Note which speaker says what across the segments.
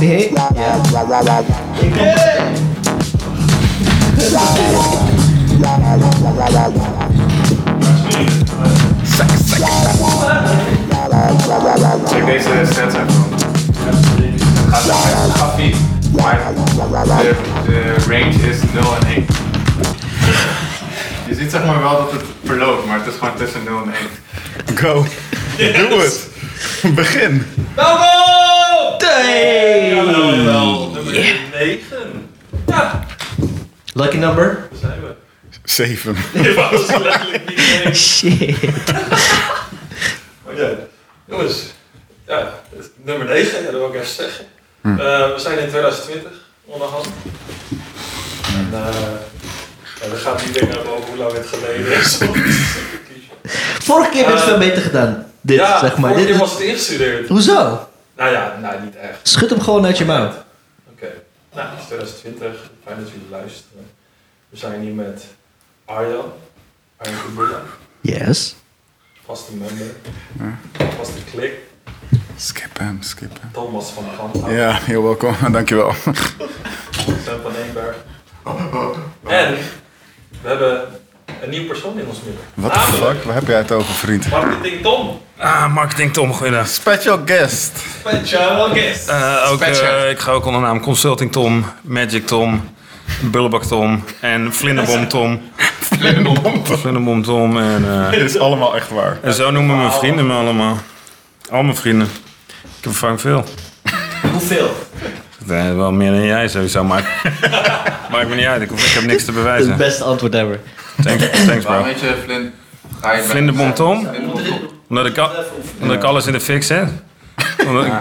Speaker 1: D ya
Speaker 2: Check deze sets uit man. Gaat naar koffie, maar de, de range is 0 en 1. Je ziet zeg maar wel dat het verloopt, maar het is gewoon tussen 0 en 1.
Speaker 3: Go. Doe het. Begin.
Speaker 4: Welkom! Jawel, jawel. Nummer 9. Ja,
Speaker 1: lucky number.
Speaker 4: daar zijn we.
Speaker 3: Zeven.
Speaker 4: Dit was letterlijk niet leuk.
Speaker 1: Shit.
Speaker 4: Maar ja, jongens. Ja, het- nummer 9, ja, dat wil ik even zeggen.
Speaker 1: Hm.
Speaker 4: Eh, we zijn in 2020, onderhand. En eh ja, we gaan niet dingen hebben over hoe lang het geleden is.
Speaker 1: Vorige keer werd het
Speaker 4: Eh,
Speaker 1: veel beter gedaan. Dit
Speaker 4: ja,
Speaker 1: zeg maar.
Speaker 4: vorige
Speaker 1: Dit,
Speaker 4: keer was het ingestudeerd.
Speaker 1: Hoezo?
Speaker 4: Nou ja, nou niet echt.
Speaker 1: Schud hem gewoon uit je mouw.
Speaker 4: Oké, nou, het is 2020. Fijn dat jullie luisteren. We zijn hier met Arjan. Arjan Kubula,
Speaker 1: Yes.
Speaker 4: vaste member. Vaste klik.
Speaker 3: Skip hem, skip hem.
Speaker 4: Thomas van Kanta.
Speaker 3: Ja, heel welkom. Dankjewel.
Speaker 4: Sam van Eenberg. En we hebben een nieuw persoon in ons midden.
Speaker 3: What the fuck? Waar heb jij het over, vriend?
Speaker 4: Marketing Tom.
Speaker 5: Ah, marketing Tom, goeiedag.
Speaker 3: Special guest.
Speaker 4: Special guest.
Speaker 5: Eh, ook,
Speaker 3: Spetje.
Speaker 5: eh, ik ga ook onder naam Consulting Tom, Magic Tom, Bullebak Tom en Vlinderbom Tom. Vlinderbom Tom en, eh,
Speaker 3: Dit is allemaal echt waar.
Speaker 5: en zo noemen mijn vrienden me allemaal. Al mijn vrienden. Ik heb vang veel.
Speaker 4: Hoeveel?
Speaker 5: Nee, wel meer dan jij sowieso, maar maakt me niet uit. Ik, hoef- ik heb niks
Speaker 1: Dat is
Speaker 5: te
Speaker 1: het
Speaker 5: bewijzen.
Speaker 1: beste antwoord ever.
Speaker 5: Thanks, thanks
Speaker 2: Waarom
Speaker 5: bro.
Speaker 2: heet je Flint? Ga je bij-
Speaker 5: Vlinderbom Tom?
Speaker 2: Vlinderbom Tom.
Speaker 5: Omdat ik, al- omdat ik alles in de fik zet. Omdat ik-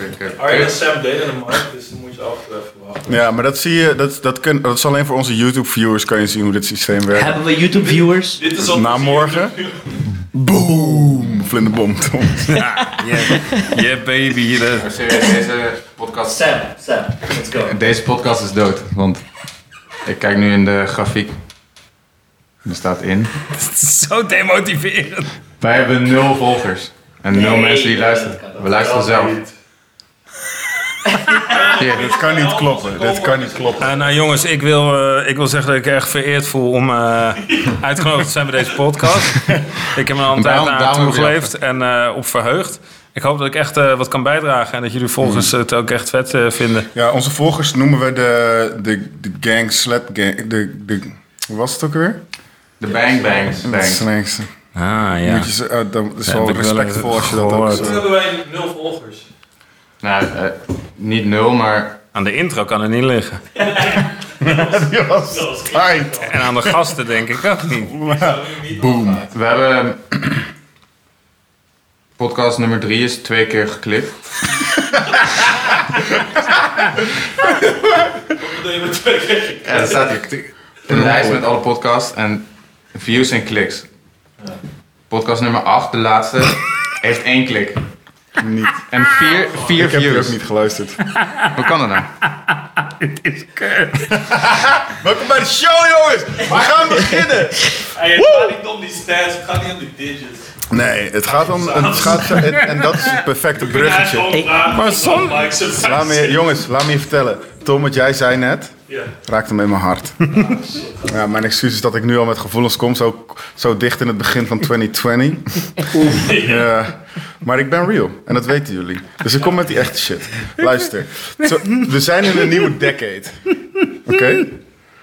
Speaker 2: Oké, oké.
Speaker 4: Arjen en Sam deden een markt, dus dan moet je af even wachten.
Speaker 3: Ja, maar dat zie je, dat, dat, kun, dat is alleen voor onze YouTube-viewers kan je zien hoe dit systeem werkt.
Speaker 1: Hebben we YouTube viewers?
Speaker 4: Dit is op
Speaker 3: Na morgen. Boom! Vlinderbom, Tom.
Speaker 5: ja, yeah, yeah baby. Dat-
Speaker 2: Maar serieus, deze podcast...
Speaker 1: Sam, Sam, let's go.
Speaker 2: Deze podcast is dood, want ik kijk nu in de grafiek. Er staat in.
Speaker 5: Zo demotiverend.
Speaker 2: Wij hebben nul volgers. En nul mensen die luisteren. We luisteren zelf. Hier.
Speaker 3: Dit kan niet kloppen, dit kan niet kloppen.
Speaker 5: Eh, nou jongens, ik wil, eh, ik wil zeggen dat ik erg vereerd voel om eh, uitgenodigd te zijn bij deze podcast. ik heb me al een tijd
Speaker 2: Daarom-
Speaker 5: aan
Speaker 2: daarom heb je
Speaker 5: toegeleefd en eh, op verheugd. Ik hoop dat ik echt eh, wat kan bijdragen en dat jullie volgens het ook echt vet eh, vinden.
Speaker 3: Ja, onze volgers noemen we de, de, de gang, slap gang, de, de, hoe was het ook weer?
Speaker 2: De bang bangs. Bangs.
Speaker 3: Slangs.
Speaker 5: Ah ja.
Speaker 3: Moet je, ze- eh, dat is
Speaker 5: Ja,
Speaker 3: wel
Speaker 5: heb ik wel
Speaker 3: respectvol
Speaker 5: even
Speaker 3: als je dat ook
Speaker 5: gehoord.
Speaker 4: Toen
Speaker 3: zo...
Speaker 4: hebben wij nul volgers.
Speaker 2: Nou, eh, niet nul, maar
Speaker 5: Aan de intro kan het niet liggen.
Speaker 3: Die was tight.
Speaker 5: En aan de gasten denk ik ook niet.
Speaker 3: Boom.
Speaker 2: we hebben... Podcast nummer drie is twee keer geklikt.
Speaker 4: Dat deden we twee keer.
Speaker 2: Ja, dat staat hier. Een lijst met alle podcasts en views en kliks. Podcast nummer 8, de laatste, heeft één klik.
Speaker 3: Niet.
Speaker 2: En vier, vier
Speaker 3: Ik heb hier ook
Speaker 2: views.
Speaker 3: niet geluisterd.
Speaker 2: Hoe kan dat nou?
Speaker 5: Het is kut.
Speaker 3: Welkom bij de show, jongens! We gaan beginnen!
Speaker 4: Hey, het gaat niet om die stats, het gaat niet om die digits.
Speaker 3: Nee, het gaat om... Het gaat, en, en dat is het perfecte bruggetje.
Speaker 4: Maar
Speaker 5: som-
Speaker 3: Laat me, jongens, laat me je vertellen. Tom, wat jij zei net,
Speaker 4: Ja.
Speaker 3: raakte me in mijn hart. Ja, mijn excuus is dat ik nu al met gevoelens kom, zo, zo dicht in het begin van 2020. Ja, maar ik ben real en dat weten jullie. Dus ik kom met die echte shit. Luister, zo- we zijn in een nieuwe decade. Oké?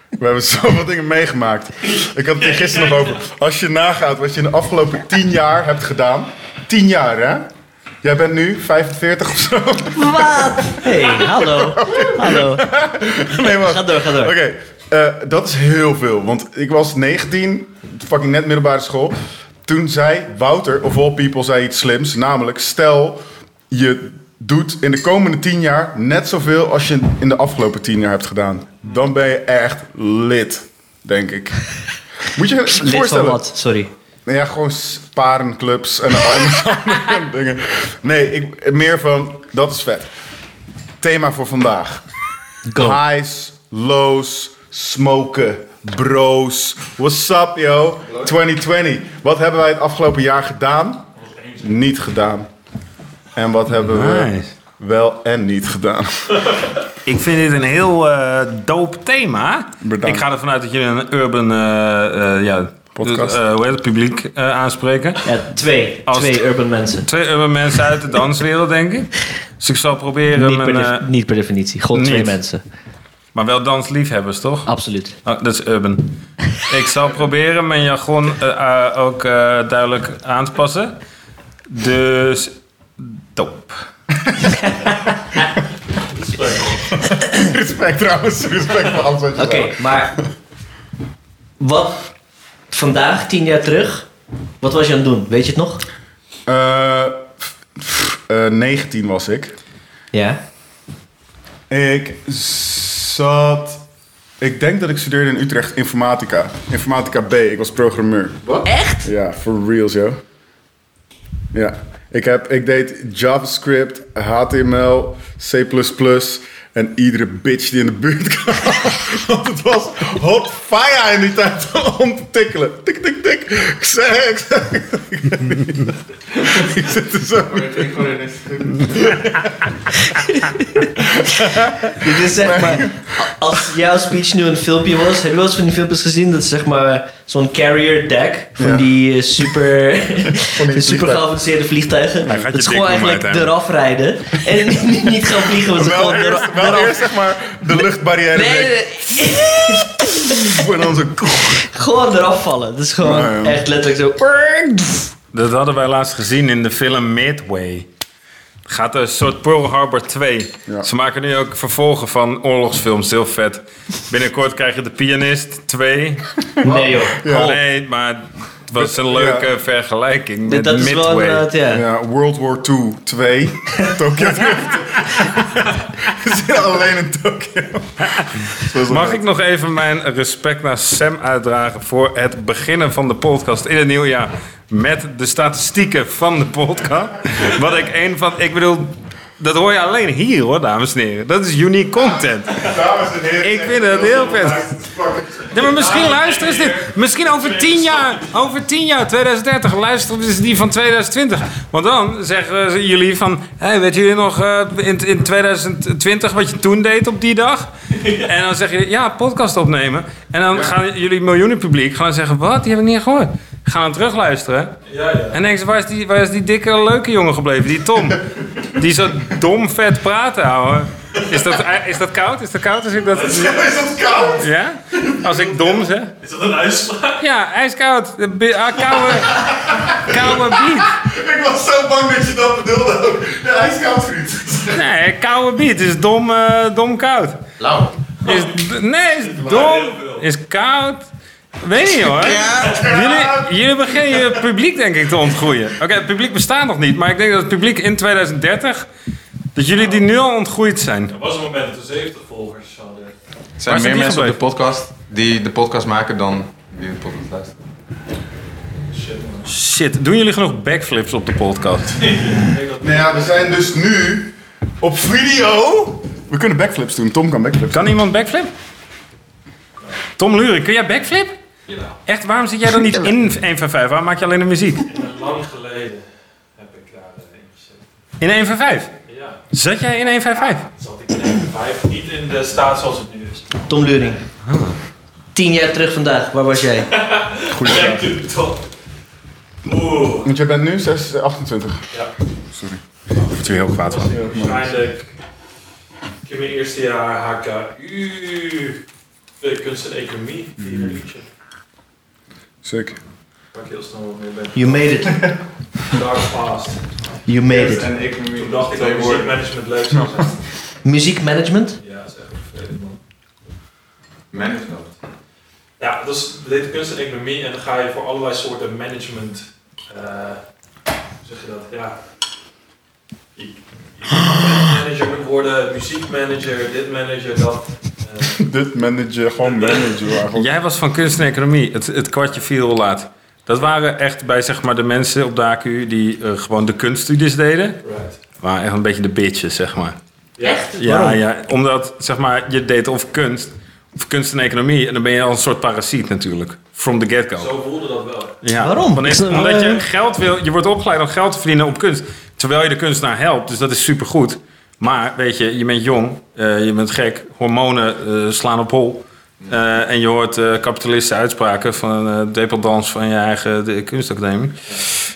Speaker 3: We hebben zoveel dingen meegemaakt. Ik had het hier gisteren nog over. Als je nagaat wat je in de afgelopen 10 jaar hebt gedaan. 10 jaar, hè? Jij bent nu 45 of zo.
Speaker 1: Wat? Hey, hallo. Hallo.
Speaker 3: Nee, wacht.
Speaker 1: Ga door, ga door.
Speaker 3: Oké, eh, dat is heel veel. Want ik was 19, fucking net middelbare school. Toen zei Wouter, of all people, zei iets slims. Namelijk, stel je doet in de komende 10 jaar net zoveel als je in de afgelopen 10 jaar hebt gedaan. Dan ben je echt lid, denk ik. Moet je je
Speaker 1: Lid van
Speaker 3: voorstellen?
Speaker 1: wat? Sorry.
Speaker 3: Nou ja, gewoon sparenclubs en andere dingen. Nee, ik, meer van, dat is vet. Thema voor vandaag.
Speaker 1: Go.
Speaker 3: Highs, lows, smoken, bros. What's up, yo? 2020. Wat hebben wij het afgelopen jaar gedaan? Niet gedaan. En wat hebben we
Speaker 5: Nice.
Speaker 3: wel en niet gedaan.
Speaker 5: Ik vind dit een heel eh dope thema.
Speaker 3: Bedankt.
Speaker 5: Ik ga ervan uit dat jullie een urban eh, eh, ja,
Speaker 3: Podcast.
Speaker 5: eh, hoe heet het, publiek eh, aanspreken.
Speaker 1: Ja, twee.
Speaker 5: Als-
Speaker 1: twee urban mensen.
Speaker 5: Twee urban mensen uit de danswereld, denk ik. Dus ik zal proberen,
Speaker 1: Niet per,
Speaker 5: mijn,
Speaker 1: def-
Speaker 5: eh,
Speaker 1: niet per definitie. God, twee
Speaker 5: niet.
Speaker 1: mensen.
Speaker 5: maar wel dansliefhebbers, toch?
Speaker 1: Absoluut.
Speaker 5: Oh, dat is urban. ik zal proberen mijn jargon eh, eh, ook eh, duidelijk aan te passen. Dus, dope.
Speaker 3: respect trouwens, respect voor alles wat je
Speaker 1: Oké,
Speaker 3: zegt.
Speaker 1: maar wat vandaag, tien jaar terug, wat was je aan het doen? Weet je het nog?
Speaker 3: Eh, pff, pff, eh, 19 was ik.
Speaker 1: Ja.
Speaker 3: Ik zat... Ik denk dat ik studeerde in Utrecht informatica. Informatica B, ik was programmeur.
Speaker 1: Echt?
Speaker 3: Ja, for real zo. Ja. Ik, heb, ik deed JavaScript, HTML, C++ en iedere bitch die in de buurt kwam. Want het was hot fire in die tijd om te tikkelen. Tik, tik, tik. Ik zeg, ik zeg. Ik zit er zo
Speaker 2: Ik denk gewoon in een
Speaker 1: Dit is zeg maar, als jouw speech nu een filmpje was, heb je wel eens van die filmpjes gezien? Dat is zeg maar zo'n carrier deck van
Speaker 3: Ja.
Speaker 1: die eh, super, super
Speaker 3: vliegtuigen.
Speaker 1: geavanceerde vliegtuigen.
Speaker 5: gaat je
Speaker 1: dat is
Speaker 5: dik
Speaker 1: gewoon
Speaker 5: om
Speaker 1: eigenlijk
Speaker 5: uiteindelijk.
Speaker 1: eraf rijden en niet- niet gaan vliegen, want ze
Speaker 3: Wel
Speaker 1: gewoon er-
Speaker 3: eerst, wel
Speaker 1: eraf.
Speaker 3: eerst zeg maar de luchtbarrière
Speaker 1: Nee, nee,
Speaker 3: weg.
Speaker 1: nee,
Speaker 3: En dan zo...
Speaker 1: gewoon eraf vallen. Dat is gewoon
Speaker 3: Nou, ja.
Speaker 1: echt letterlijk zo.
Speaker 5: Dat hadden wij laatst gezien in de film Midway. Gaat een soort Pearl Harbor 2.
Speaker 3: Ja.
Speaker 5: Ze maken nu ook vervolgen van oorlogsfilms. Heel vet. Binnenkort krijg je De Pianist 2.
Speaker 1: Nee joh.
Speaker 3: Ja.
Speaker 5: Nee, maar het was een leuke
Speaker 3: Ja.
Speaker 5: vergelijking met
Speaker 1: Dat is wel
Speaker 5: Midway.
Speaker 1: inderdaad, ja.
Speaker 3: Ja, eh, World War II 2. Tokyo Drift. We zitten alleen in Tokyo.
Speaker 5: Mag ik nog even mijn respect naar Sam uitdragen voor het beginnen van de podcast in het nieuwe jaar met de statistieken van de podcast? Wat ik een van, ik bedoel, dat hoor je alleen hier hoor, dames en heren. Dat is unique content.
Speaker 2: Dames en heren.
Speaker 5: Ik vind het heel vet. Ja, maar misschien luisteren ze dit. Misschien over 10 jaar, over 10 jaar, 2030, luisteren ze die van 2020. Want dan zeggen ze jullie van, hey, weet jullie nog eh, in, in 2020 wat je toen deed op die dag? En dan zeg je, ja, podcast opnemen. En dan gaan jullie miljoenen publiek gaan zeggen, wat, die heb ik niet gehoord. Gaan terugluisteren.
Speaker 4: Ja, ja.
Speaker 5: En denk ze, waar is, die, waar is die dikke, leuke jongen gebleven? Die Tom. Die zo dom vet praten, ouwe. Is dat, eh, is dat koud? Is dat koud als ik dat... Is dat koud? Ja? Als ik dom zeg?
Speaker 4: Is dat een uitspraak?
Speaker 5: Ja, ijskoud. De bi- ah, Koude... Koude biet.
Speaker 2: Ik was zo bang dat je dat bedoelde ook. Ja, hij is koud, vriend.
Speaker 5: Nee, koude biet is dom, eh, dom koud.
Speaker 1: Lauw.
Speaker 5: Is, d- nee, is dom. Is koud. Weet niet hoor. Jullie, jullie beginnen je publiek denk ik te ontgroeien. Oké, het publiek bestaat nog niet. Maar ik denk dat het publiek in 2030... Dat jullie die nu al ontgroeid zijn.
Speaker 4: Er was een moment dat we 70 volgers hadden.
Speaker 2: Zijn
Speaker 5: Waar
Speaker 2: er
Speaker 5: is
Speaker 2: meer
Speaker 5: het
Speaker 2: mensen op de
Speaker 5: gebleven?
Speaker 2: podcast die de podcast maken dan die de podcast luisteren?
Speaker 5: Shit, doen jullie genoeg backflips op de podcast?
Speaker 3: Nou ja, we zijn dus nu op video. We kunnen backflips doen. Tom kan backflips.
Speaker 5: Kan iemand backflip? Tom Luren, kun jij backflip?
Speaker 4: Jawel.
Speaker 5: Echt, waarom zit jij dan niet in 1 van 5? Waarom maak je alleen de muziek?
Speaker 4: Lang geleden heb ik daar eh, in gezeten.
Speaker 5: In 1 van 5?
Speaker 4: Ja,
Speaker 5: Zat jij in 1 van 5?
Speaker 4: zat ik in de vijf. Niet in de staat zoals het nu is.
Speaker 1: Tom Luring. Tien jaar terug vandaag, waar was jij?
Speaker 3: Goeie
Speaker 4: Kijk,
Speaker 3: vraag.
Speaker 4: natuurlijk toch. Oeh.
Speaker 3: Want jij bent nu eh, 6, 28.
Speaker 4: Ja.
Speaker 3: Sorry. Ik word hier heel kwaad van.
Speaker 4: Waarschijnlijk. Ik heb mijn eerste jaar HKU. eh, Kunst en economie. Vier een uurtje.
Speaker 3: Sick.
Speaker 4: Waar ik heel snel wat mee ben.
Speaker 1: You made it.
Speaker 4: Dark past.
Speaker 1: You made it.
Speaker 2: En economie.
Speaker 4: Toen dacht ik dat
Speaker 2: Twee woorden.
Speaker 4: muziekmanagement leuk zou zijn.
Speaker 1: Muziekmanagement?
Speaker 4: Ja, dat is echt vervelend man.
Speaker 2: Management.
Speaker 4: Ja, dus we deden kunst en economie en dan ga je voor allerlei soorten management. eh, hoe zeg je dat? Ja. Je, je kan manager worden, muziekmanager, dit manager, dat. eh,
Speaker 3: Dit manager, gewoon manager eigenlijk.
Speaker 5: Jij was van kunst en economie. Het, het kwartje viel al laat. Dat waren echt bij zeg maar, de mensen op de AQ die eh, gewoon de kunststudies deden.
Speaker 4: right.
Speaker 5: Maar echt een beetje de bitches, zeg maar.
Speaker 4: Ja.
Speaker 5: Ja, ja omdat zeg maar, je deed of kunst, of kunst en economie. En dan ben je al een soort parasiet natuurlijk. From the get-go.
Speaker 4: Zo voelde dat wel.
Speaker 5: Ja.
Speaker 1: Waarom?
Speaker 5: Wanneer-
Speaker 1: Ik snap-
Speaker 5: omdat je
Speaker 1: eh.
Speaker 5: geld wil, je wordt opgeleid om geld te verdienen op kunst. Terwijl je de kunstenaar helpt, dus dat is supergoed. Maar weet je, je bent jong, eh, je bent gek, hormonen eh, slaan op hol. Eh, en je hoort eh kapitalisten uitspraken van eh depeldans van je eigen de, kunstacademie.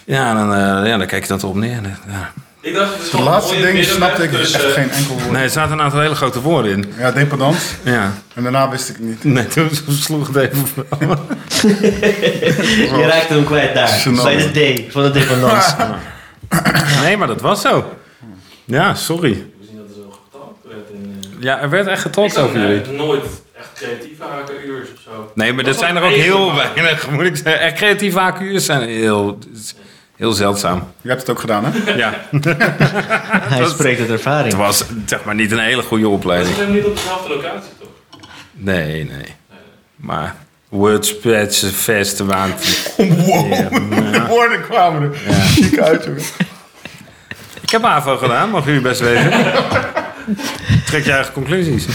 Speaker 5: Ja, dan, eh, ja, dan kijk je dat op neer. Ja.
Speaker 4: Ik dacht, het is
Speaker 3: De
Speaker 4: gewoon
Speaker 3: laatste
Speaker 4: een mooie
Speaker 3: ding
Speaker 4: middenweg dus, eh.
Speaker 3: snapte ik echt
Speaker 4: tussen-
Speaker 3: geen enkel woord.
Speaker 5: Nee, er zaten een aantal hele grote woorden in.
Speaker 3: Ja, dependant.
Speaker 5: Ja.
Speaker 3: En daarna wist ik niet.
Speaker 5: Nee, toen sloeg het even van.
Speaker 1: Je raakte hem kwijt daar.
Speaker 3: Gênant.
Speaker 1: Bij de D van de dependance.
Speaker 5: Nee, maar dat was zo. Ja, sorry.
Speaker 4: We zien dat er zo getalkt werd. in, eh,
Speaker 5: Ja, er werd echt
Speaker 4: Ik
Speaker 5: getalkt
Speaker 4: zou
Speaker 5: over jullie.
Speaker 4: nooit echt creatieve hakenuurs of zo.
Speaker 5: Nee, maar
Speaker 4: Dat
Speaker 5: dat zijn er
Speaker 4: was
Speaker 5: ook
Speaker 4: een
Speaker 5: heel
Speaker 4: ezel.
Speaker 5: weinig, moet ik zeggen. Echt creatieve AQ's zijn heel, heel zeldzaam.
Speaker 3: Je hebt het ook gedaan, hè?
Speaker 5: Ja,
Speaker 1: Hij spreekt uit ervaring.
Speaker 5: het was zeg maar niet een hele goede
Speaker 4: Dat is
Speaker 5: opleiding.
Speaker 4: helemaal niet op dezelfde locatie, toch?
Speaker 5: Nee, nee. Maar wordspreads, vesten, waant.
Speaker 3: Wow, de woorden kwamen er. Ziek uit, jongen.
Speaker 5: Ik heb AVO gedaan, mag u best weten. Trek je eigen conclusies.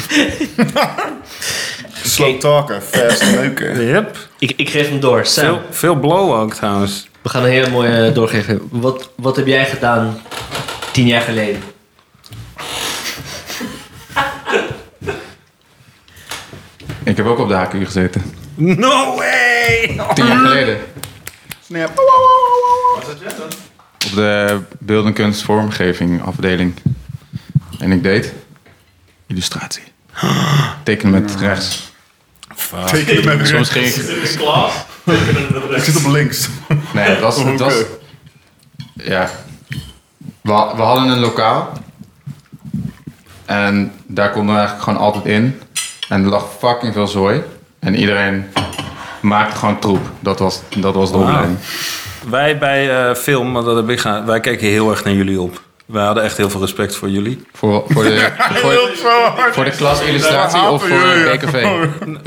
Speaker 3: Slow talken, fast neuken.
Speaker 5: Yep.
Speaker 1: Ik, ik geef hem door. Sam,
Speaker 5: Veel, veel blow ook trouwens.
Speaker 1: we gaan een hele mooie eh, doorgeven. Wat, wat heb jij gedaan tien jaar geleden?
Speaker 2: Ik heb ook op de HQ gezeten.
Speaker 5: No way!
Speaker 2: Tien jaar geleden.
Speaker 3: Snap.
Speaker 4: Wat zat jij dan?
Speaker 2: Op de beeldende kunst vormgeving afdeling. En ik deed illustratie. Tekenen met rechts.
Speaker 3: Tekenen met
Speaker 2: Soms
Speaker 3: rechts.
Speaker 2: ging ik
Speaker 4: Dit is Klaas.
Speaker 3: Ik zit op links.
Speaker 2: Nee, het was. Het was ja. We, ha- we hadden een lokaal. En daar konden we eigenlijk gewoon altijd in. En er lag fucking veel zooi. En iedereen maakte gewoon troep. Dat was, dat was de
Speaker 5: Wauw.
Speaker 2: opleiding.
Speaker 5: Wij bij eh, film, want dat heb ik gedaan, wij keken heel erg naar jullie op. Wij hadden echt heel veel respect voor jullie.
Speaker 2: Voor, voor, de, voor, voor de klas illustratie of voor eh, BKV.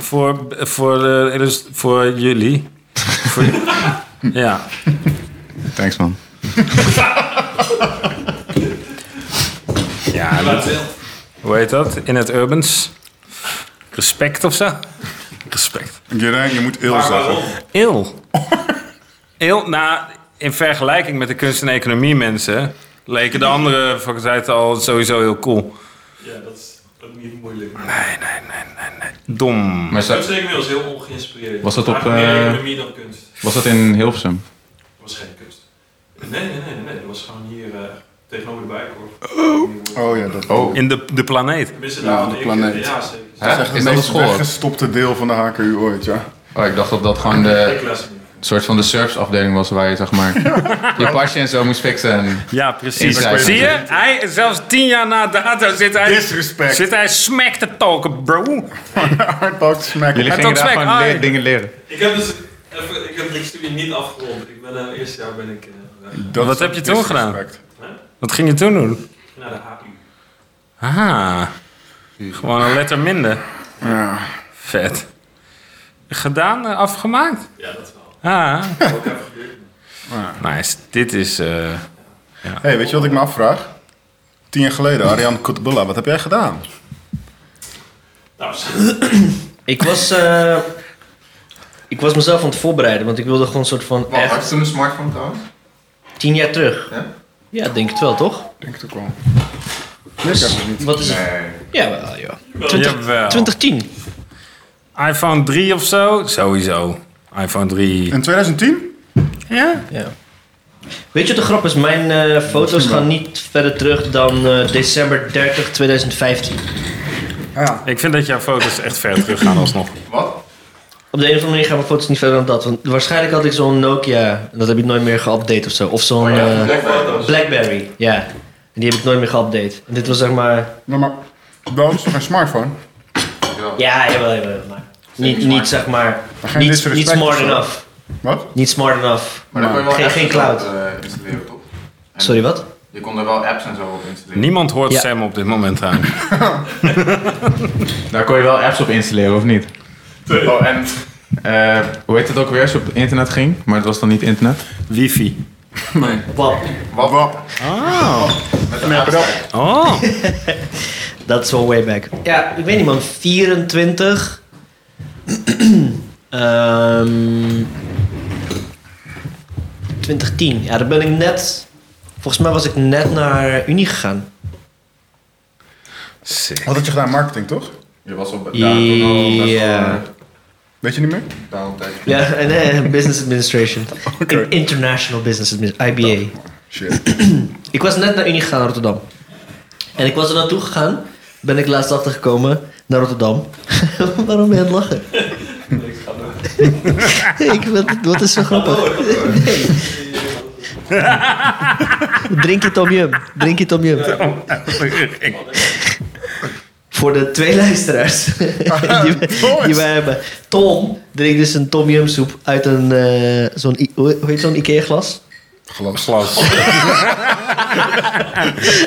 Speaker 5: Voor, voor, eh, dus voor jullie. voor, ja.
Speaker 2: Thanks man.
Speaker 5: ja dat- hoe heet dat? In het Urbans. Respect of zo? Respect.
Speaker 3: Jerijn, je moet heel
Speaker 4: Maar
Speaker 3: zeggen.
Speaker 4: waarom?
Speaker 5: Il. Il, nou, in vergelijking met de kunst- en economie mensen... leken de andere faculteiten al sowieso heel cool.
Speaker 4: Ja, dat is ook niet moeilijk.
Speaker 5: Dom.
Speaker 2: Maar
Speaker 4: Dat is
Speaker 2: zo-
Speaker 4: inmiddels heel ongeïnspireerd.
Speaker 2: Was dat op,
Speaker 4: Eigenlijk meer
Speaker 2: eh,
Speaker 4: economie dan kunst.
Speaker 2: was dat in Hilversum?
Speaker 4: Het was geen kunst. Nee, nee, nee, nee. Dat was gewoon hier eh, tegenover de bijkorf.
Speaker 3: Oh ja, dat.
Speaker 2: Oh.
Speaker 5: In de, de planeet.
Speaker 4: Tenminste,
Speaker 3: Ja,
Speaker 4: daar had
Speaker 3: de
Speaker 4: eh, ik...
Speaker 3: planeet.
Speaker 4: Ja, zeker.
Speaker 2: Hè?
Speaker 3: Echt
Speaker 2: Is
Speaker 3: het
Speaker 2: dat een
Speaker 3: meest
Speaker 2: school?
Speaker 3: weggestopte deel van de HKU ooit, ja.
Speaker 2: Oh, ik dacht dat dat gewoon de
Speaker 4: Ik las het niet.
Speaker 2: soort van de surfsafdeling was waar je zeg maar je pasje en zo moest fixen. En,
Speaker 5: Ja, precies.
Speaker 2: Inside.
Speaker 5: Zie je? Hij, zelfs tien jaar na dato zit hij...
Speaker 3: Disrespect.
Speaker 5: Zit hij smack te talken, bro.
Speaker 3: Hardbalk smack.
Speaker 2: jullie
Speaker 5: Met
Speaker 2: gingen
Speaker 5: dat
Speaker 2: daar
Speaker 5: zwek,
Speaker 2: gewoon
Speaker 5: ah,
Speaker 2: le-
Speaker 5: ja.
Speaker 2: dingen leren.
Speaker 4: Ik heb dus... Even, ik heb die studie niet afgerond. Ik ben eh, eerste jaar ben ik eh, weg.
Speaker 3: Dat
Speaker 5: Wat
Speaker 3: is
Speaker 5: heb je toen gedaan?
Speaker 3: disrespect.
Speaker 5: Wat ging je toen doen?
Speaker 4: naar de HU.
Speaker 5: Ah, gewoon een letter minder.
Speaker 3: Ja.
Speaker 5: Vet. Gedaan, eh, afgemaakt.
Speaker 4: Ja, dat wel.
Speaker 5: Ah,
Speaker 4: Ook even gebeurd.
Speaker 5: nice. Dit is... eh,
Speaker 3: hey, weet je wat ik me afvraag? Tien jaar geleden, Arjan Kutbulla, wat heb jij gedaan?
Speaker 4: Nou,
Speaker 1: Ik was, eh, ik was mezelf aan het voorbereiden, want ik wilde gewoon een soort van echt
Speaker 2: toen een smartphone trouwens?
Speaker 1: tien jaar terug.
Speaker 2: Ja?
Speaker 1: Ja, denk het wel, toch? Dus
Speaker 3: Ik denk het ook wel. Nee, ik heb het niet.
Speaker 1: Wat is het?
Speaker 2: Nee.
Speaker 1: Jawel, joh.
Speaker 5: Jawel.
Speaker 1: 2010.
Speaker 5: iPhone 3 of zo? Sowieso. iPhone 3.
Speaker 3: In 2010?
Speaker 5: Ja?
Speaker 1: Ja. Weet je wat de grap is? Mijn eh, foto's gaan niet verder terug dan eh, december 30, 2015.
Speaker 5: Ik vind dat jouw foto's echt ver terug gaan alsnog.
Speaker 2: Wat?
Speaker 1: Op de een of andere manier gaan mijn foto's niet verder dan dat. Want waarschijnlijk had ik zo'n Nokia, en dat heb ik nooit meer geüpdate of zo. Of
Speaker 2: Oh,
Speaker 1: zo'n eh,
Speaker 4: foto's.
Speaker 1: Blackberry, ja. En die heb ik nooit meer geüpdate. En dit was zeg maar...
Speaker 3: Nou, maar wel is toch een smartphone?
Speaker 1: Ja, jawel, jawel. Maar niet, niet zeg maar...
Speaker 3: geen
Speaker 1: Niet,
Speaker 3: disrespect
Speaker 1: niet smart
Speaker 3: of zo.
Speaker 1: enough.
Speaker 3: Wat?
Speaker 1: Niet smart enough.
Speaker 2: Maar daar kon je wel
Speaker 1: Geen-
Speaker 2: apps
Speaker 1: geen
Speaker 2: en zo op,
Speaker 1: cloud.
Speaker 2: eh, installeren toch? En
Speaker 1: Sorry, wat?
Speaker 2: Je kon er wel apps en zo op installeren.
Speaker 5: Niemand hoort
Speaker 1: Ja.
Speaker 5: Sam op dit moment aan.
Speaker 2: Daar kon je wel apps op installeren of niet? Oh en eh, hoe heet het ook weer als je op internet ging? Maar het was dan niet internet.
Speaker 5: Wifi.
Speaker 2: Nee.
Speaker 1: Wap.
Speaker 3: Wat? Wat?
Speaker 5: Oh.
Speaker 2: Met een app.
Speaker 5: Oh.
Speaker 1: That's all way back. Ja, ik weet niet man. 24. Ehm 2010. Ja, dan ben ik net... Volgens mij was ik net naar Unie gegaan.
Speaker 5: Sick.
Speaker 3: Wat had je gedaan? Marketing, toch?
Speaker 2: Je was op
Speaker 1: Ja.
Speaker 2: daar toen al best wel eh,
Speaker 3: Weet je niet meer?
Speaker 2: down tijd.
Speaker 1: Ja, en eh, Business Administration.
Speaker 3: Oké.
Speaker 1: In- International Business Administration, IBA.
Speaker 3: Shit.
Speaker 1: Ik was net naar Unie gegaan naar Rotterdam. En ik was er naartoe gegaan. Ben ik laatst achtergekomen naar Rotterdam. Waarom ben je aan het lachen?
Speaker 4: Ik ga door.
Speaker 1: Ik, wat, wat is zo grappig? Nee. Drink je Tom Yum. Drink je Tom Yum. Voor de twee luisteraars
Speaker 5: Ah,
Speaker 1: die, we- die wij hebben. Tom drinkt dus een Tom Yum soep uit een, eh, zo'n, I- hoe hoe heet zo'n Ikea glas?
Speaker 3: Glas.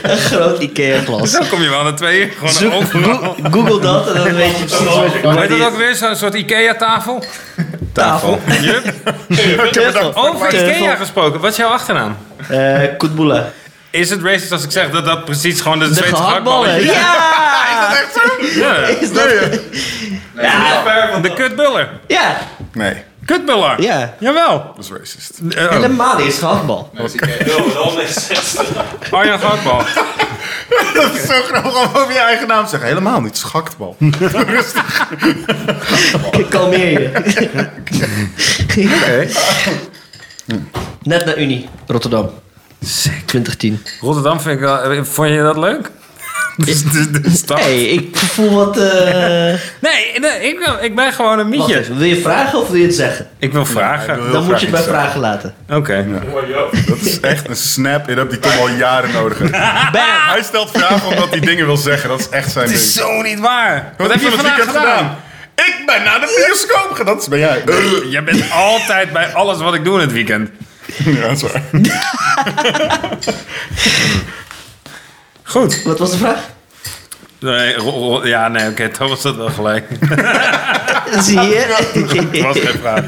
Speaker 1: Een groot Ikea glas.
Speaker 5: Zo kom je wel na twee uur gewoon
Speaker 1: Zoek,
Speaker 5: overal.
Speaker 1: go- Google dat en dan weet je precies wat je
Speaker 5: Weet je
Speaker 1: die-
Speaker 5: dat ook weer? Zo'n soort Ikea-tafel?
Speaker 1: tafel.
Speaker 5: Jup. Over Ikea gesproken, wat is jouw achternaam?
Speaker 1: Eh, Kutbula.
Speaker 5: Is het racist als ik zeg dat dat precies gewoon de
Speaker 1: De
Speaker 5: Zweedse gehaktbal
Speaker 1: gehaktballen.
Speaker 5: is?
Speaker 1: Ja!
Speaker 5: Ja.
Speaker 1: Is dat...
Speaker 4: Ja, ver van
Speaker 5: De kutbuller.
Speaker 1: Ja,
Speaker 3: Nee,
Speaker 5: Kutbuller.
Speaker 1: Ja.
Speaker 5: Jawel.
Speaker 3: dat is racist.
Speaker 5: Eh, oh.
Speaker 1: helemaal niet is gehaktbal.
Speaker 4: de dan is
Speaker 5: Arjan Oh, gehaktbal.
Speaker 3: Dat is zo grappig om over je eigen naam te zeggen. Helemaal niet, schaktbal.
Speaker 1: Ik kalmeer je. Net naar Unie, Rotterdam. 2010.
Speaker 5: Rotterdam vind ik wel... eh, Vond je dat leuk? Dus de- de stad.
Speaker 1: hey, ik voel wat... eh
Speaker 5: Nee, nee, ik, wil- ik ben gewoon een
Speaker 1: Wacht
Speaker 5: mietje.
Speaker 1: even, wil je vragen of wil je het zeggen?
Speaker 5: Ik wil vragen.
Speaker 1: Dan moet je het bij vragen laten.
Speaker 5: Oké.
Speaker 4: mooi, joh.
Speaker 3: Dat is echt een snap. Ik heb die Tom al jaren nodig.
Speaker 1: Bam!
Speaker 3: Hij stelt vragen omdat hij dingen wil zeggen. Dat is echt zijn
Speaker 5: Het
Speaker 3: ding.
Speaker 5: is zo niet waar. Wat,
Speaker 3: Wat
Speaker 5: heb je
Speaker 3: van het
Speaker 5: vandaag
Speaker 3: weekend
Speaker 5: gedaan?
Speaker 3: gedaan? Ik ben naar de bioscoop gegaan. Dat ben jij. Eh,
Speaker 5: Jij bent altijd bij alles wat ik doe in het weekend.
Speaker 3: Ja, dat is waar.
Speaker 5: Goed.
Speaker 1: Wat was de vraag?
Speaker 5: Nee, ro- ro- ja, nee, oké, toch was dat wel gelijk.
Speaker 1: Zie
Speaker 5: Het was
Speaker 1: je?
Speaker 5: geen vraag.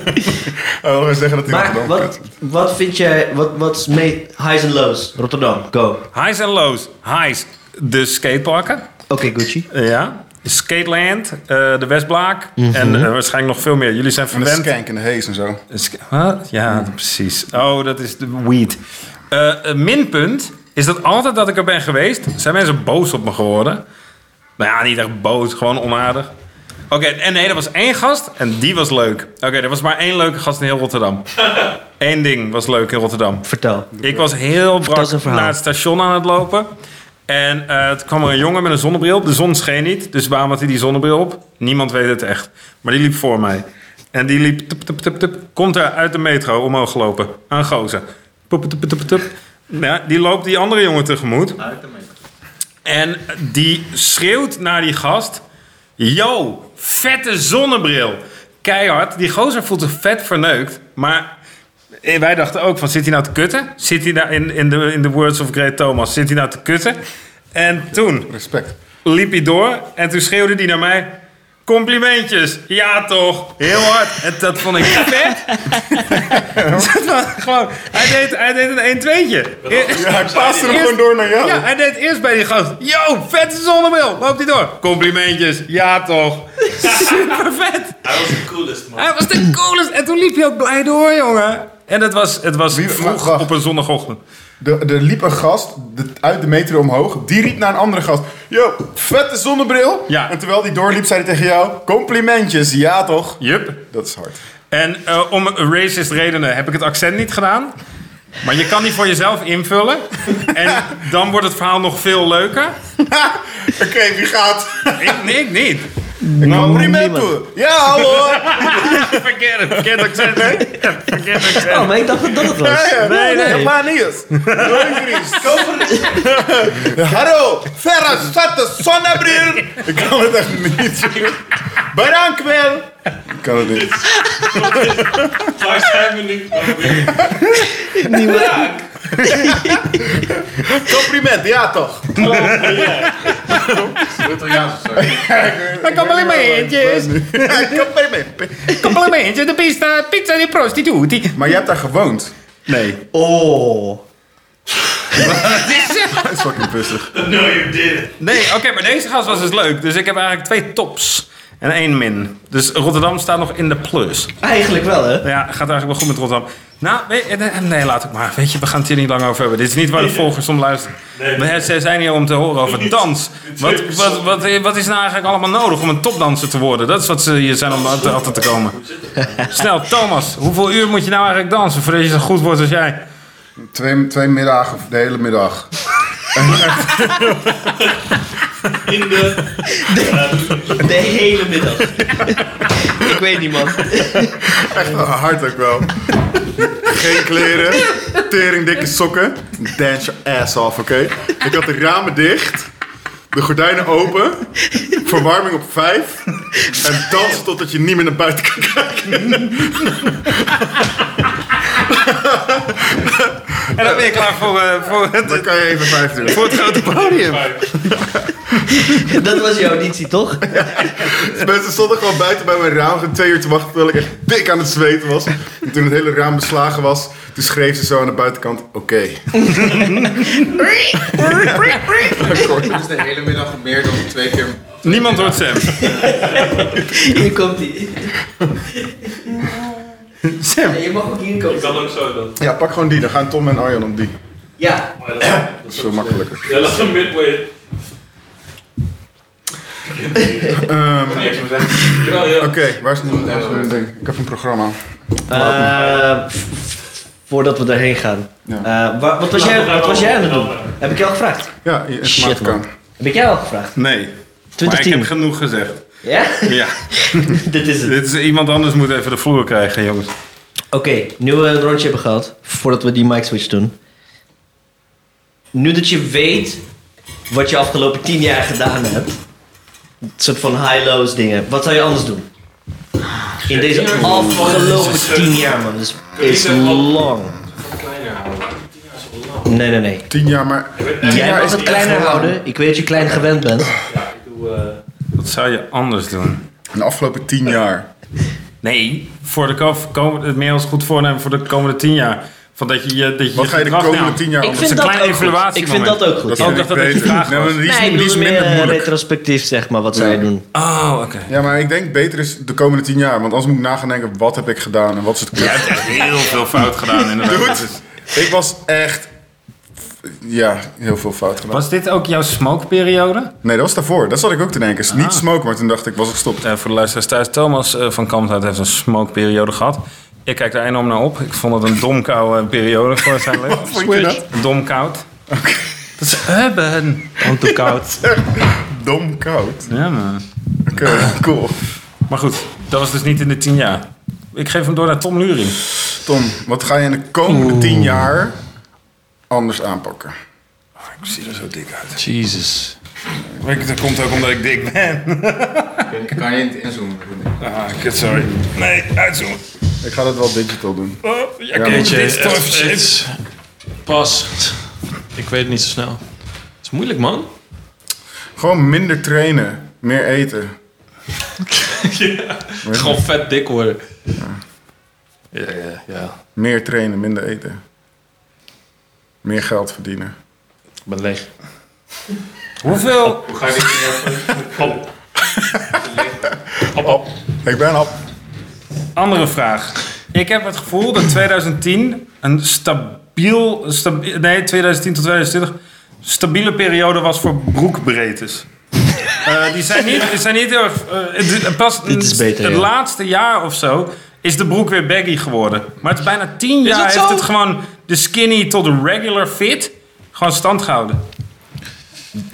Speaker 3: Oh, we gaan zeggen dat hij
Speaker 1: Maar
Speaker 3: Rotterdam
Speaker 1: wat,
Speaker 3: kent.
Speaker 1: wat vind jij... Wat, wat is mee... Highs en lows. Rotterdam, go. Oké,
Speaker 5: Highs en lows. Highs, de skateparken.
Speaker 1: Gucci.
Speaker 5: Eh, Ja. Skateland, eh, de Westblaak en eh, waarschijnlijk nog veel meer. Jullie zijn
Speaker 3: En de
Speaker 5: verwend.
Speaker 3: skank en de hees en zo.
Speaker 5: Sk- Wat? Ja, precies. Oh, dat is de weed. Eh, een minpunt is dat altijd dat ik er ben geweest, zijn mensen boos op me geworden. Nou ja, niet echt boos, gewoon onaardig. Oké, en nee, er was één gast en die was leuk. Oké, er was maar één leuke gast in heel Rotterdam. Eén ding was leuk in Rotterdam.
Speaker 1: Vertel.
Speaker 5: Ik was heel
Speaker 1: eens een
Speaker 5: brak
Speaker 1: verhaal.
Speaker 5: naar het station aan het lopen. En eh het kwam er een jongen met een zonnebril op. De zon scheen niet, dus waarom had hij die zonnebril op? Niemand weet het echt. Maar die liep voor mij. En die liep, tup, tup, tup, tup, komt er uit de metro omhoog gelopen. Aan gozer. Pup, tup, tup, tup. Ja, die loopt die andere jongen tegemoet. En die schreeuwt naar die gast. Yo, vette zonnebril. Keihard. Die gozer voelt zich vet verneukt. Maar eh, wij dachten ook van, zit hij nou te kutten? Zit hij nou, in, in, de, in de words of Great Thomas, zit hij nou te kutten? En toen
Speaker 3: Respect.
Speaker 5: liep hij door en toen schreeuwde hij naar mij... Complimentjes, ja toch, heel hard. En dat vond ik vet. Dat was gewoon, hij, deed, hij deed een 1-2'tje.
Speaker 3: Ja, hij paast hem gewoon door naar jou.
Speaker 5: Ja, hij deed eerst bij die gast. Yo, vette zonnebril. Loopt hij door. Complimentjes. Ja, toch. Super vet.
Speaker 4: Hij was de coolest,
Speaker 6: Ah.
Speaker 4: man.
Speaker 5: Hij was de coolest. En toen liep hij ook blij door, jongen. En het was, het was
Speaker 3: Wie- maar
Speaker 5: vroeg
Speaker 3: wacht.
Speaker 5: op een zondagochtend.
Speaker 3: Er, er liep een gast de- uit de metro omhoog. Die riep naar een andere gast. Yo, vette zonnebril.
Speaker 5: Ja.
Speaker 3: En terwijl die doorliep, zei hij tegen jou... Complimentjes, ja toch?
Speaker 5: Jup.
Speaker 3: Dat is hard.
Speaker 5: En eh, om racist redenen heb ik het accent niet gedaan. Maar je kan die voor jezelf invullen. En dan wordt het verhaal nog veel leuker.
Speaker 3: Oké, wie gaat?
Speaker 5: Ik, nee, ik niet. Nou,
Speaker 3: Complimenten. Ja, hallo.
Speaker 5: Verkeerd, verkeerd accent. Verkeerd accent.
Speaker 1: Oh, maar ik dacht dat dat het was.
Speaker 3: Ja, ja.
Speaker 5: Nee, nee.
Speaker 3: Helemaal niet. Leuk, Dries. Kom. Hallo. Verre vette zonnebril. Ik kan het echt niet. Bedankt wel. Ik kan het niet.
Speaker 4: Maar zijn we nu... Oh, weer.
Speaker 3: Compliment, ja toch?
Speaker 2: eh, Italiaans of zo.
Speaker 5: Complimentjes.
Speaker 3: Compliment.
Speaker 5: Complimentjes. De pizza, pizza die prostitutie.
Speaker 3: Maar je hebt daar gewoond.
Speaker 5: Nee.
Speaker 1: Oh.
Speaker 3: Dat is fucking pissig.
Speaker 4: No, you didn't.
Speaker 5: Nee, oké, maar deze gast was dus leuk. Dus ik heb eigenlijk twee tops. en één min. Dus Rotterdam staat nog in de plus.
Speaker 1: Eigenlijk wel, hè?
Speaker 5: Ja, gaat eigenlijk wel goed met Rotterdam. Nou, weet je- nee, nee, laat ik maar. Weet je, we gaan het hier niet lang over hebben. Dit is niet waar de volgers om luisteren. Maar Ze zijn hier om te horen over dans. Wat, wat, wat, wat is nou eigenlijk allemaal nodig om een topdanser te worden? Dat is wat ze hier zijn om te- achter te komen. Snel, Thomas, hoeveel uur moet je nou eigenlijk dansen voordat je zo goed wordt als jij?
Speaker 3: Twee, twee middagen, of de hele middag.
Speaker 2: In de...
Speaker 1: De hele middag. ik weet niet, man.
Speaker 3: Echt wel hard ook wel. Geen kleren, tering dikke sokken. Dance your ass off, oké? Ik had de ramen dicht, de gordijnen open, verwarming op vijf. En dansen totdat je niet meer naar buiten kan kijken.
Speaker 5: En dan ben je klaar voor, eh, voor,
Speaker 3: Dan
Speaker 5: het,
Speaker 3: kan je even vijf doen.
Speaker 5: voor het grote podium.
Speaker 1: Dat was jouw auditie, toch?
Speaker 3: Mensen stonden gewoon buiten bij mijn raam. Geen twee uur te wachten terwijl ik echt dik aan het zweten was. En toen het hele raam beslagen was, toen schreef ze zo aan de buitenkant, oké.
Speaker 7: Dit is de hele middag meer dan twee keer.
Speaker 5: Niemand hoort Sam.
Speaker 1: Hier komt hij.
Speaker 5: Sam.
Speaker 1: je mag ook hier
Speaker 4: Ik
Speaker 1: komen.
Speaker 4: kan ook zo dat.
Speaker 3: Ja, pak gewoon die. Dan gaan Tom en Arjan om die.
Speaker 1: Ja.
Speaker 4: Maar dat-
Speaker 3: Dat is veel makkelijker.
Speaker 4: Ja, dat is een midway.
Speaker 3: Ehm,
Speaker 4: Ja, ja.
Speaker 3: Oké, waar is het waar is het ding? Ik heb een programma.
Speaker 1: Eh, f- f- voordat we daarheen gaan.
Speaker 3: Ja.
Speaker 1: Eh, wa- wat, was jij, wat was jij aan het doen? Heb ik jou al gevraagd?
Speaker 3: Ja, je
Speaker 1: Shit,
Speaker 3: informatica.
Speaker 1: man. Heb ik jou al gevraagd?
Speaker 5: Nee, maar ik
Speaker 1: 2010.
Speaker 5: heb genoeg gezegd.
Speaker 1: Ja?
Speaker 5: Ja,
Speaker 1: Dit is het.
Speaker 5: dit is, iemand anders moet even de vloer krijgen, jongens.
Speaker 1: Oké, nu we een rondje hebben gehad, voordat we die mic switch doen. Nu dat je weet wat je afgelopen tien jaar gedaan hebt, een soort van high-lows dingen, wat zou je anders doen? In deze afgelopen tien jaar, man, is, is lang.
Speaker 4: Kleiner houden. Die is wel lang.
Speaker 1: Nee, nee, nee.
Speaker 3: Tien jaar, maar
Speaker 1: Jij
Speaker 3: jaar
Speaker 1: mag
Speaker 3: is
Speaker 1: het
Speaker 3: echt
Speaker 1: kleiner
Speaker 3: lang.
Speaker 1: houden. Ik weet dat je klein gewend bent.
Speaker 4: Ja, ik doe... eh,
Speaker 5: Wat zou je anders doen?
Speaker 3: in de afgelopen tien jaar.
Speaker 5: Nee, voor de ko- komende, het meer als goed voornemen voor de komende tien jaar. Van dat je, je- dat je
Speaker 3: Wat ga je de
Speaker 5: gedrag
Speaker 3: komende
Speaker 5: nou-
Speaker 3: tien jaar
Speaker 1: Ik
Speaker 3: anders
Speaker 1: vind
Speaker 5: een
Speaker 1: dat
Speaker 5: kleine
Speaker 1: ook goed. Ik vind
Speaker 5: evaluatiemoment.
Speaker 1: dat ook
Speaker 3: Dat
Speaker 1: goed.
Speaker 5: Oh,
Speaker 3: vind
Speaker 5: ik dacht
Speaker 3: ik
Speaker 5: dat die
Speaker 3: beter.
Speaker 5: vraag
Speaker 3: Nee, maar
Speaker 5: was.
Speaker 3: die is,
Speaker 1: Nee, ik
Speaker 3: die is
Speaker 1: bedoel
Speaker 3: minder
Speaker 1: meer
Speaker 3: moeilijk.
Speaker 1: retrospectief, zeg maar, wat zou je doen?
Speaker 5: Oh, oké.
Speaker 3: Ja, maar ik denk beter is de komende tien jaar. Want anders moet ik nagaan denken, wat heb ik gedaan en wat is het
Speaker 5: Jij
Speaker 3: klopt.
Speaker 5: hebt echt heel veel fout gedaan inderdaad.
Speaker 3: Goed, ik was echt... Ja, heel veel fout gedaan.
Speaker 5: Was dit ook jouw smokeperiode?
Speaker 3: Nee, dat was daarvoor. Dat zat ik ook te denken. Is Niet smoken, maar toen dacht ik, was ik gestopt.
Speaker 5: Eh, voor de luisteraars thuis, Thomas eh, van Kamphout heeft een smokeperiode gehad. Ik kijk daar enorm naar op. Ik vond het een domkoude periode voor zijn leven.
Speaker 3: Vond je dat?
Speaker 5: Domkoud. Dat is urban. Gewoon te koud.
Speaker 3: Dom koud.
Speaker 5: Ja, man.
Speaker 3: Oké, cool.
Speaker 5: Maar goed, dat was dus niet in de tien jaar. Ik geef hem door naar Tom Luring.
Speaker 3: Tom, wat ga je in de komende tien jaar anders aanpakken?
Speaker 5: Ik zie er zo dik uit.
Speaker 6: Jesus.
Speaker 5: Ik- Dat komt ook omdat ik dik ben.
Speaker 7: Ik kan je niet inzoomen.
Speaker 5: Ah, kut, sorry. Nee, uitzoomen.
Speaker 3: Ik ga dat wel digital doen.
Speaker 5: Oh, ja, kijk,
Speaker 6: Weet je,
Speaker 5: dit is toch
Speaker 6: echt,
Speaker 5: even shit.
Speaker 6: echt. Pas. Ik weet het niet zo snel. Het is moeilijk, man.
Speaker 3: Gewoon minder trainen, meer eten.
Speaker 6: Gewoon vet dik worden. Ja, ja, ja.
Speaker 3: Meer trainen, minder eten. Meer geld verdienen.
Speaker 6: Ik ben leeg.
Speaker 5: Hoeveel?
Speaker 2: Hoe ga je dit neer?
Speaker 3: Ik ben op.
Speaker 5: Andere vraag. Ik heb het gevoel dat 2010 een stabiel... stabi- nee, 2010 tot 2020... stabiele periode was voor broekbreedtes. Eh, die, zijn niet, die zijn niet heel erg... eh, het- pas
Speaker 1: Dit is beter,
Speaker 5: het
Speaker 1: ja.
Speaker 5: laatste jaar of zo is de broek weer baggy geworden. Maar het is bijna tien jaar
Speaker 6: dat
Speaker 5: heeft
Speaker 6: zo?
Speaker 5: het gewoon de skinny tot de regular fit gewoon stand gehouden.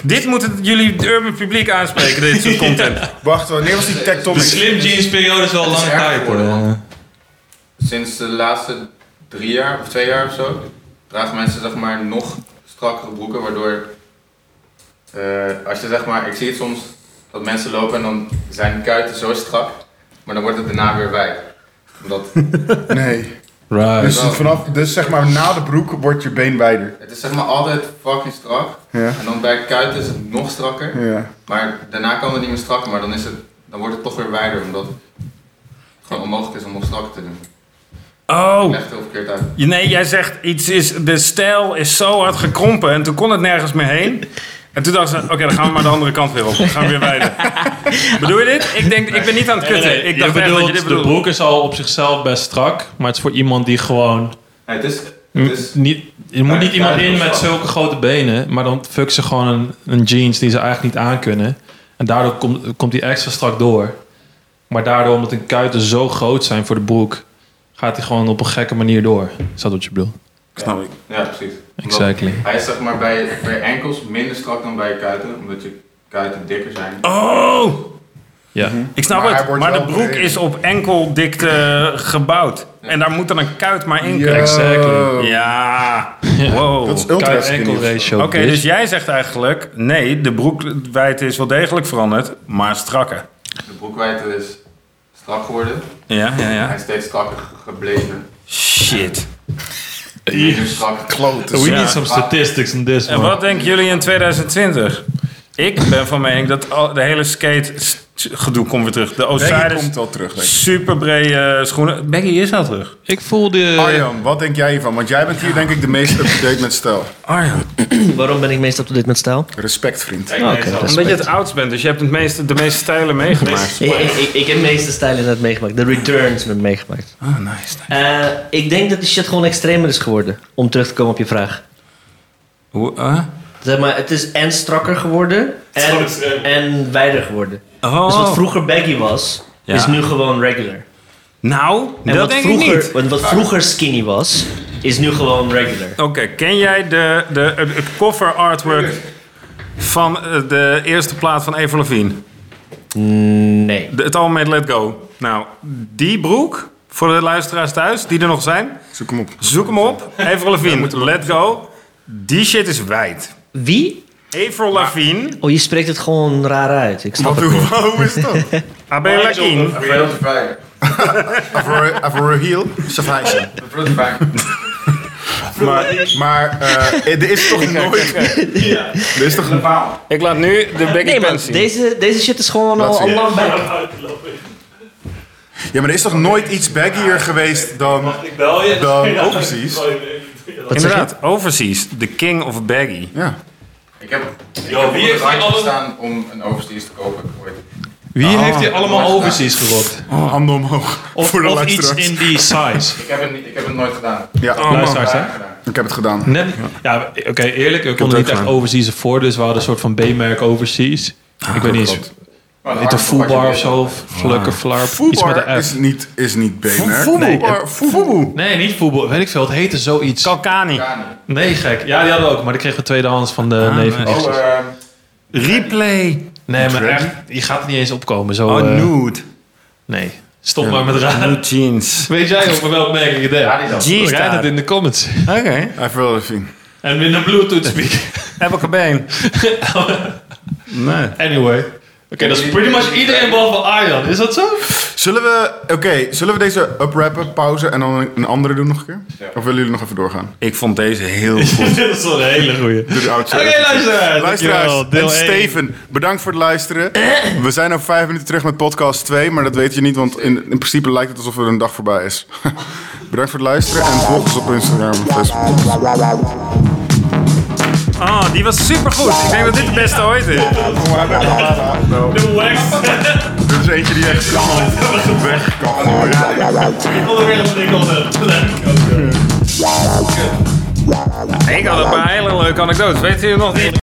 Speaker 5: Dit moeten jullie het urban publiek aanspreken, dit soort content.
Speaker 3: Wacht, wanneer was die
Speaker 6: De
Speaker 3: tectonic?
Speaker 6: Slim Jeans periode is wel lang
Speaker 7: erg
Speaker 6: tijd
Speaker 7: geworden,
Speaker 6: hoor.
Speaker 7: Sinds de laatste drie jaar of twee jaar of zo dragen mensen zeg maar nog strakkere broeken, waardoor eh, als je zeg maar, ik zie het soms dat mensen lopen en dan zijn de kuiten zo strak, maar dan wordt het daarna weer wijd. Omdat
Speaker 3: Nee.
Speaker 6: Right.
Speaker 3: Dus, vanaf, dus zeg maar na de broek wordt je been wijder.
Speaker 7: het is zeg maar altijd fucking strak
Speaker 3: Ja.
Speaker 7: en dan bij kuiten is het nog strakker.
Speaker 3: Ja.
Speaker 7: Maar daarna kan het niet meer strakker, maar dan, is het, dan wordt het toch weer wijder, omdat het gewoon onmogelijk is om nog strakker te doen.
Speaker 5: Oh,
Speaker 7: Echt heel verkeerd uit.
Speaker 5: je- nee, jij zegt iets is, de stijl is zo hard gekrompen en toen kon het nergens meer heen. En toen dacht ze, oké, dan gaan we maar de andere kant weer op. Dan gaan we weer wijden. Bedoel je dit? Ik, denk, ik ben niet aan het kutten. Ik dacht echt dat je dit
Speaker 6: de
Speaker 5: bedoelde.
Speaker 6: broek is al op zichzelf best strak, maar het is voor iemand die gewoon
Speaker 2: Nee, het is,
Speaker 6: M-
Speaker 2: het is
Speaker 6: niet, je moet
Speaker 2: Ja,
Speaker 6: niet iemand
Speaker 2: ja,
Speaker 6: in
Speaker 2: dat
Speaker 6: met
Speaker 2: is wel.
Speaker 6: zulke grote benen, maar dan fuck ze gewoon een, een jeans die ze eigenlijk niet aankunnen. En daardoor komt, komt die extra strak door. Maar daardoor, omdat de kuiten zo groot zijn voor de broek, gaat hij gewoon op een gekke manier door. Is dat wat je bedoelt?
Speaker 8: Snap ik.
Speaker 2: Ja, precies. Omdat
Speaker 6: Exactly.
Speaker 2: Hij is zeg maar bij, bij enkels minder strak dan bij je kuiten, omdat je kuiten dikker zijn.
Speaker 5: Oh,
Speaker 6: Ja.
Speaker 5: ik snap
Speaker 8: Maar hij
Speaker 5: het.
Speaker 8: wordt
Speaker 5: Maar de
Speaker 8: wel
Speaker 5: broek
Speaker 8: breed.
Speaker 5: is op enkeldikte gebouwd. En daar moet dan een kuit maar in kunnen.
Speaker 6: Exactly.
Speaker 5: Ja.
Speaker 8: Eh, Dat is
Speaker 5: Wow.
Speaker 8: ultra
Speaker 6: Kuit
Speaker 8: skinny.
Speaker 6: enkel ratio.
Speaker 5: Oké,
Speaker 6: bitch.
Speaker 5: dus jij zegt eigenlijk... Nee, de broekwijdte is wel degelijk veranderd, maar strakker.
Speaker 2: De broekwijdte is strak geworden,
Speaker 5: Ja, ja,
Speaker 2: hij
Speaker 5: ja.
Speaker 2: is steeds strakker ge- gebleven.
Speaker 5: Shit.
Speaker 2: Minder strak.
Speaker 8: Klote.
Speaker 6: We
Speaker 5: Ja.
Speaker 6: need some statistics on this
Speaker 5: En
Speaker 6: one.
Speaker 5: wat denken jullie in 2020? Ik ben van mening dat al- de hele skate s- gedoe komt weer terug. De
Speaker 8: Hij
Speaker 5: Osiris
Speaker 8: komt wel terug, denk ik.
Speaker 5: super schoenen. Becky is al terug.
Speaker 6: Ik voelde...
Speaker 8: Eh,
Speaker 2: Ah,
Speaker 8: Arjan, wat denk jij hiervan? Want jij bent hier denk ik de meest up-to-date met stijl.
Speaker 5: Arjan.
Speaker 1: Waarom ben ik meestal op dit met stijl?
Speaker 8: Respect, vriend.
Speaker 1: Oh, oké,
Speaker 5: Omdat je het oudst bent, dus je hebt het meeste, de meeste stijlen meegemaakt.
Speaker 1: Ik, ik, ik, ik heb de meeste stijlen net meegemaakt. De returns net meegemaakt.
Speaker 5: Ah, nice.
Speaker 1: Eh, ik denk dat die shit gewoon extremer is geworden. Om terug te komen op je vraag.
Speaker 5: Hoe, eh?
Speaker 1: Zeg maar, het is en strakker geworden.
Speaker 4: gewoon
Speaker 1: En,
Speaker 4: extreem.
Speaker 1: en wijder geworden.
Speaker 5: Oh.
Speaker 1: Dus wat vroeger baggy was,
Speaker 5: Ja.
Speaker 1: is nu gewoon regular.
Speaker 5: Nou,
Speaker 1: En
Speaker 5: dat
Speaker 1: wat,
Speaker 5: denk
Speaker 1: vroeger,
Speaker 5: ik niet.
Speaker 1: want wat vroeger skinny was, is nu gewoon regular.
Speaker 5: Oké, ken jij de, de, het, het cover artwork van eh, de eerste plaat van Avril Lavigne?
Speaker 1: Nee.
Speaker 5: De- Het album heet Let Go. Nou, die broek, voor de luisteraars thuis die er nog zijn,
Speaker 8: Zoek hem op.
Speaker 5: zoek hem op. Avril Lavigne, Let Go. Die shit is wijd.
Speaker 1: Wie?
Speaker 5: Avril Lavigne,
Speaker 1: Oh, je spreekt het gewoon raar uit. Ik snap
Speaker 8: Wat,
Speaker 1: het.
Speaker 8: hoe, hoe is dat?
Speaker 5: Abe Lakin.
Speaker 2: Veel te fijn.
Speaker 8: Avro- Avraheel Savaisje.
Speaker 2: Veel te fijn.
Speaker 8: Maar, maar eh, er is toch nooit... Er is toch...
Speaker 5: Ik laat nu de Becky
Speaker 1: Nee,
Speaker 5: Pants
Speaker 1: maar
Speaker 5: zien.
Speaker 1: deze, deze shit is gewoon
Speaker 8: Laat
Speaker 1: al, al
Speaker 8: zien.
Speaker 1: lang bij.
Speaker 8: Ja, maar er is toch nooit iets baggier geweest dan...
Speaker 4: Ik bel je.
Speaker 8: Dan ook precies.
Speaker 1: Wat zeg je?
Speaker 5: Inderdaad, Overseas, The King of Baggy.
Speaker 8: Ja.
Speaker 2: Ik heb, ik
Speaker 4: Yo,
Speaker 2: heb op
Speaker 4: wie heeft
Speaker 2: het
Speaker 4: die
Speaker 2: randje
Speaker 4: alle-
Speaker 2: gestaan om een oversteers te kopen ooit.
Speaker 6: Wie
Speaker 2: Ah.
Speaker 6: heeft hier allemaal overseas gerokt?
Speaker 8: Handen omhoog.
Speaker 6: Of,
Speaker 8: voor de
Speaker 6: of iets
Speaker 8: luisteraars.
Speaker 6: in die size?
Speaker 2: Ik heb het, niet- ik heb het nooit gedaan.
Speaker 8: Ja,
Speaker 6: Luisteraars, hè?
Speaker 2: gedaan.
Speaker 8: ik heb het gedaan.
Speaker 6: Net, ja, oké, eerlijk, we
Speaker 5: het
Speaker 6: konden
Speaker 5: ook
Speaker 6: niet echt
Speaker 5: gedaan.
Speaker 6: overseas voor, dus we hadden een soort van B-merk overseas. ik weet niet eens,
Speaker 2: Maar
Speaker 6: heet een
Speaker 2: hartstikke
Speaker 6: voetbar of
Speaker 2: hartstikke
Speaker 6: zo, of flukker, flarp, iets met
Speaker 8: Voetbar
Speaker 6: de
Speaker 8: is
Speaker 6: F.
Speaker 8: niet, is niet BNR.
Speaker 6: Nee,
Speaker 8: Voetbar, voetboe.
Speaker 6: Nee, niet voetbal, weet ik veel, het heette zoiets.
Speaker 5: Kalkani.
Speaker 2: Kani.
Speaker 6: Nee, gek. Ja, die hadden we ook, maar die kregen we tweedehands van de neef. en
Speaker 2: Oh,
Speaker 6: nicht.
Speaker 2: eh,
Speaker 5: Replay.
Speaker 6: Nee, maar
Speaker 8: Trend.
Speaker 6: echt, je gaat er niet eens opkomen. Zo,
Speaker 5: Oh,
Speaker 6: eh,
Speaker 5: nude.
Speaker 6: Nee, stop maar met raden.
Speaker 5: Jeans.
Speaker 6: Weet jij over welk merk ik het heb?
Speaker 2: Adidas.
Speaker 5: Jeans
Speaker 6: Jij
Speaker 5: daar.
Speaker 6: dat in de comments.
Speaker 5: Oké.
Speaker 8: Avril Lavigne.
Speaker 6: En in een bluetooth speaker.
Speaker 5: Heb ik een been. nee.
Speaker 6: Anyway. Oké, dat is pretty much iedereen behalve Arjan. Is dat zo?
Speaker 8: Zullen we, oké, zullen we deze uprappen, pauze en dan een- een andere doen nog een keer? Of willen jullie nog even doorgaan?
Speaker 5: Ik vond deze heel goed.
Speaker 6: Dit is wel een hele goeie.
Speaker 8: Doe de outro.
Speaker 6: Oké, luisteraars.
Speaker 8: Luisteraars
Speaker 6: Dankjewel. Deel
Speaker 8: en
Speaker 6: één.
Speaker 8: Steven, bedankt voor het luisteren. We zijn over vijf minuten terug met podcast 2, maar dat weet je niet, want in, in principe lijkt het alsof er een dag voorbij is. bedankt voor het luisteren en volg ons op Instagram en Facebook.
Speaker 5: Oh, die was super goed. Ik denk dat dit de beste ooit is.
Speaker 4: De wax.
Speaker 8: Dit is eentje die echt gewoon weg kan gooien.
Speaker 4: Ik kon er weer een ding op.
Speaker 5: Ik had een paar hele leuke anekdotes. Weet je nog die?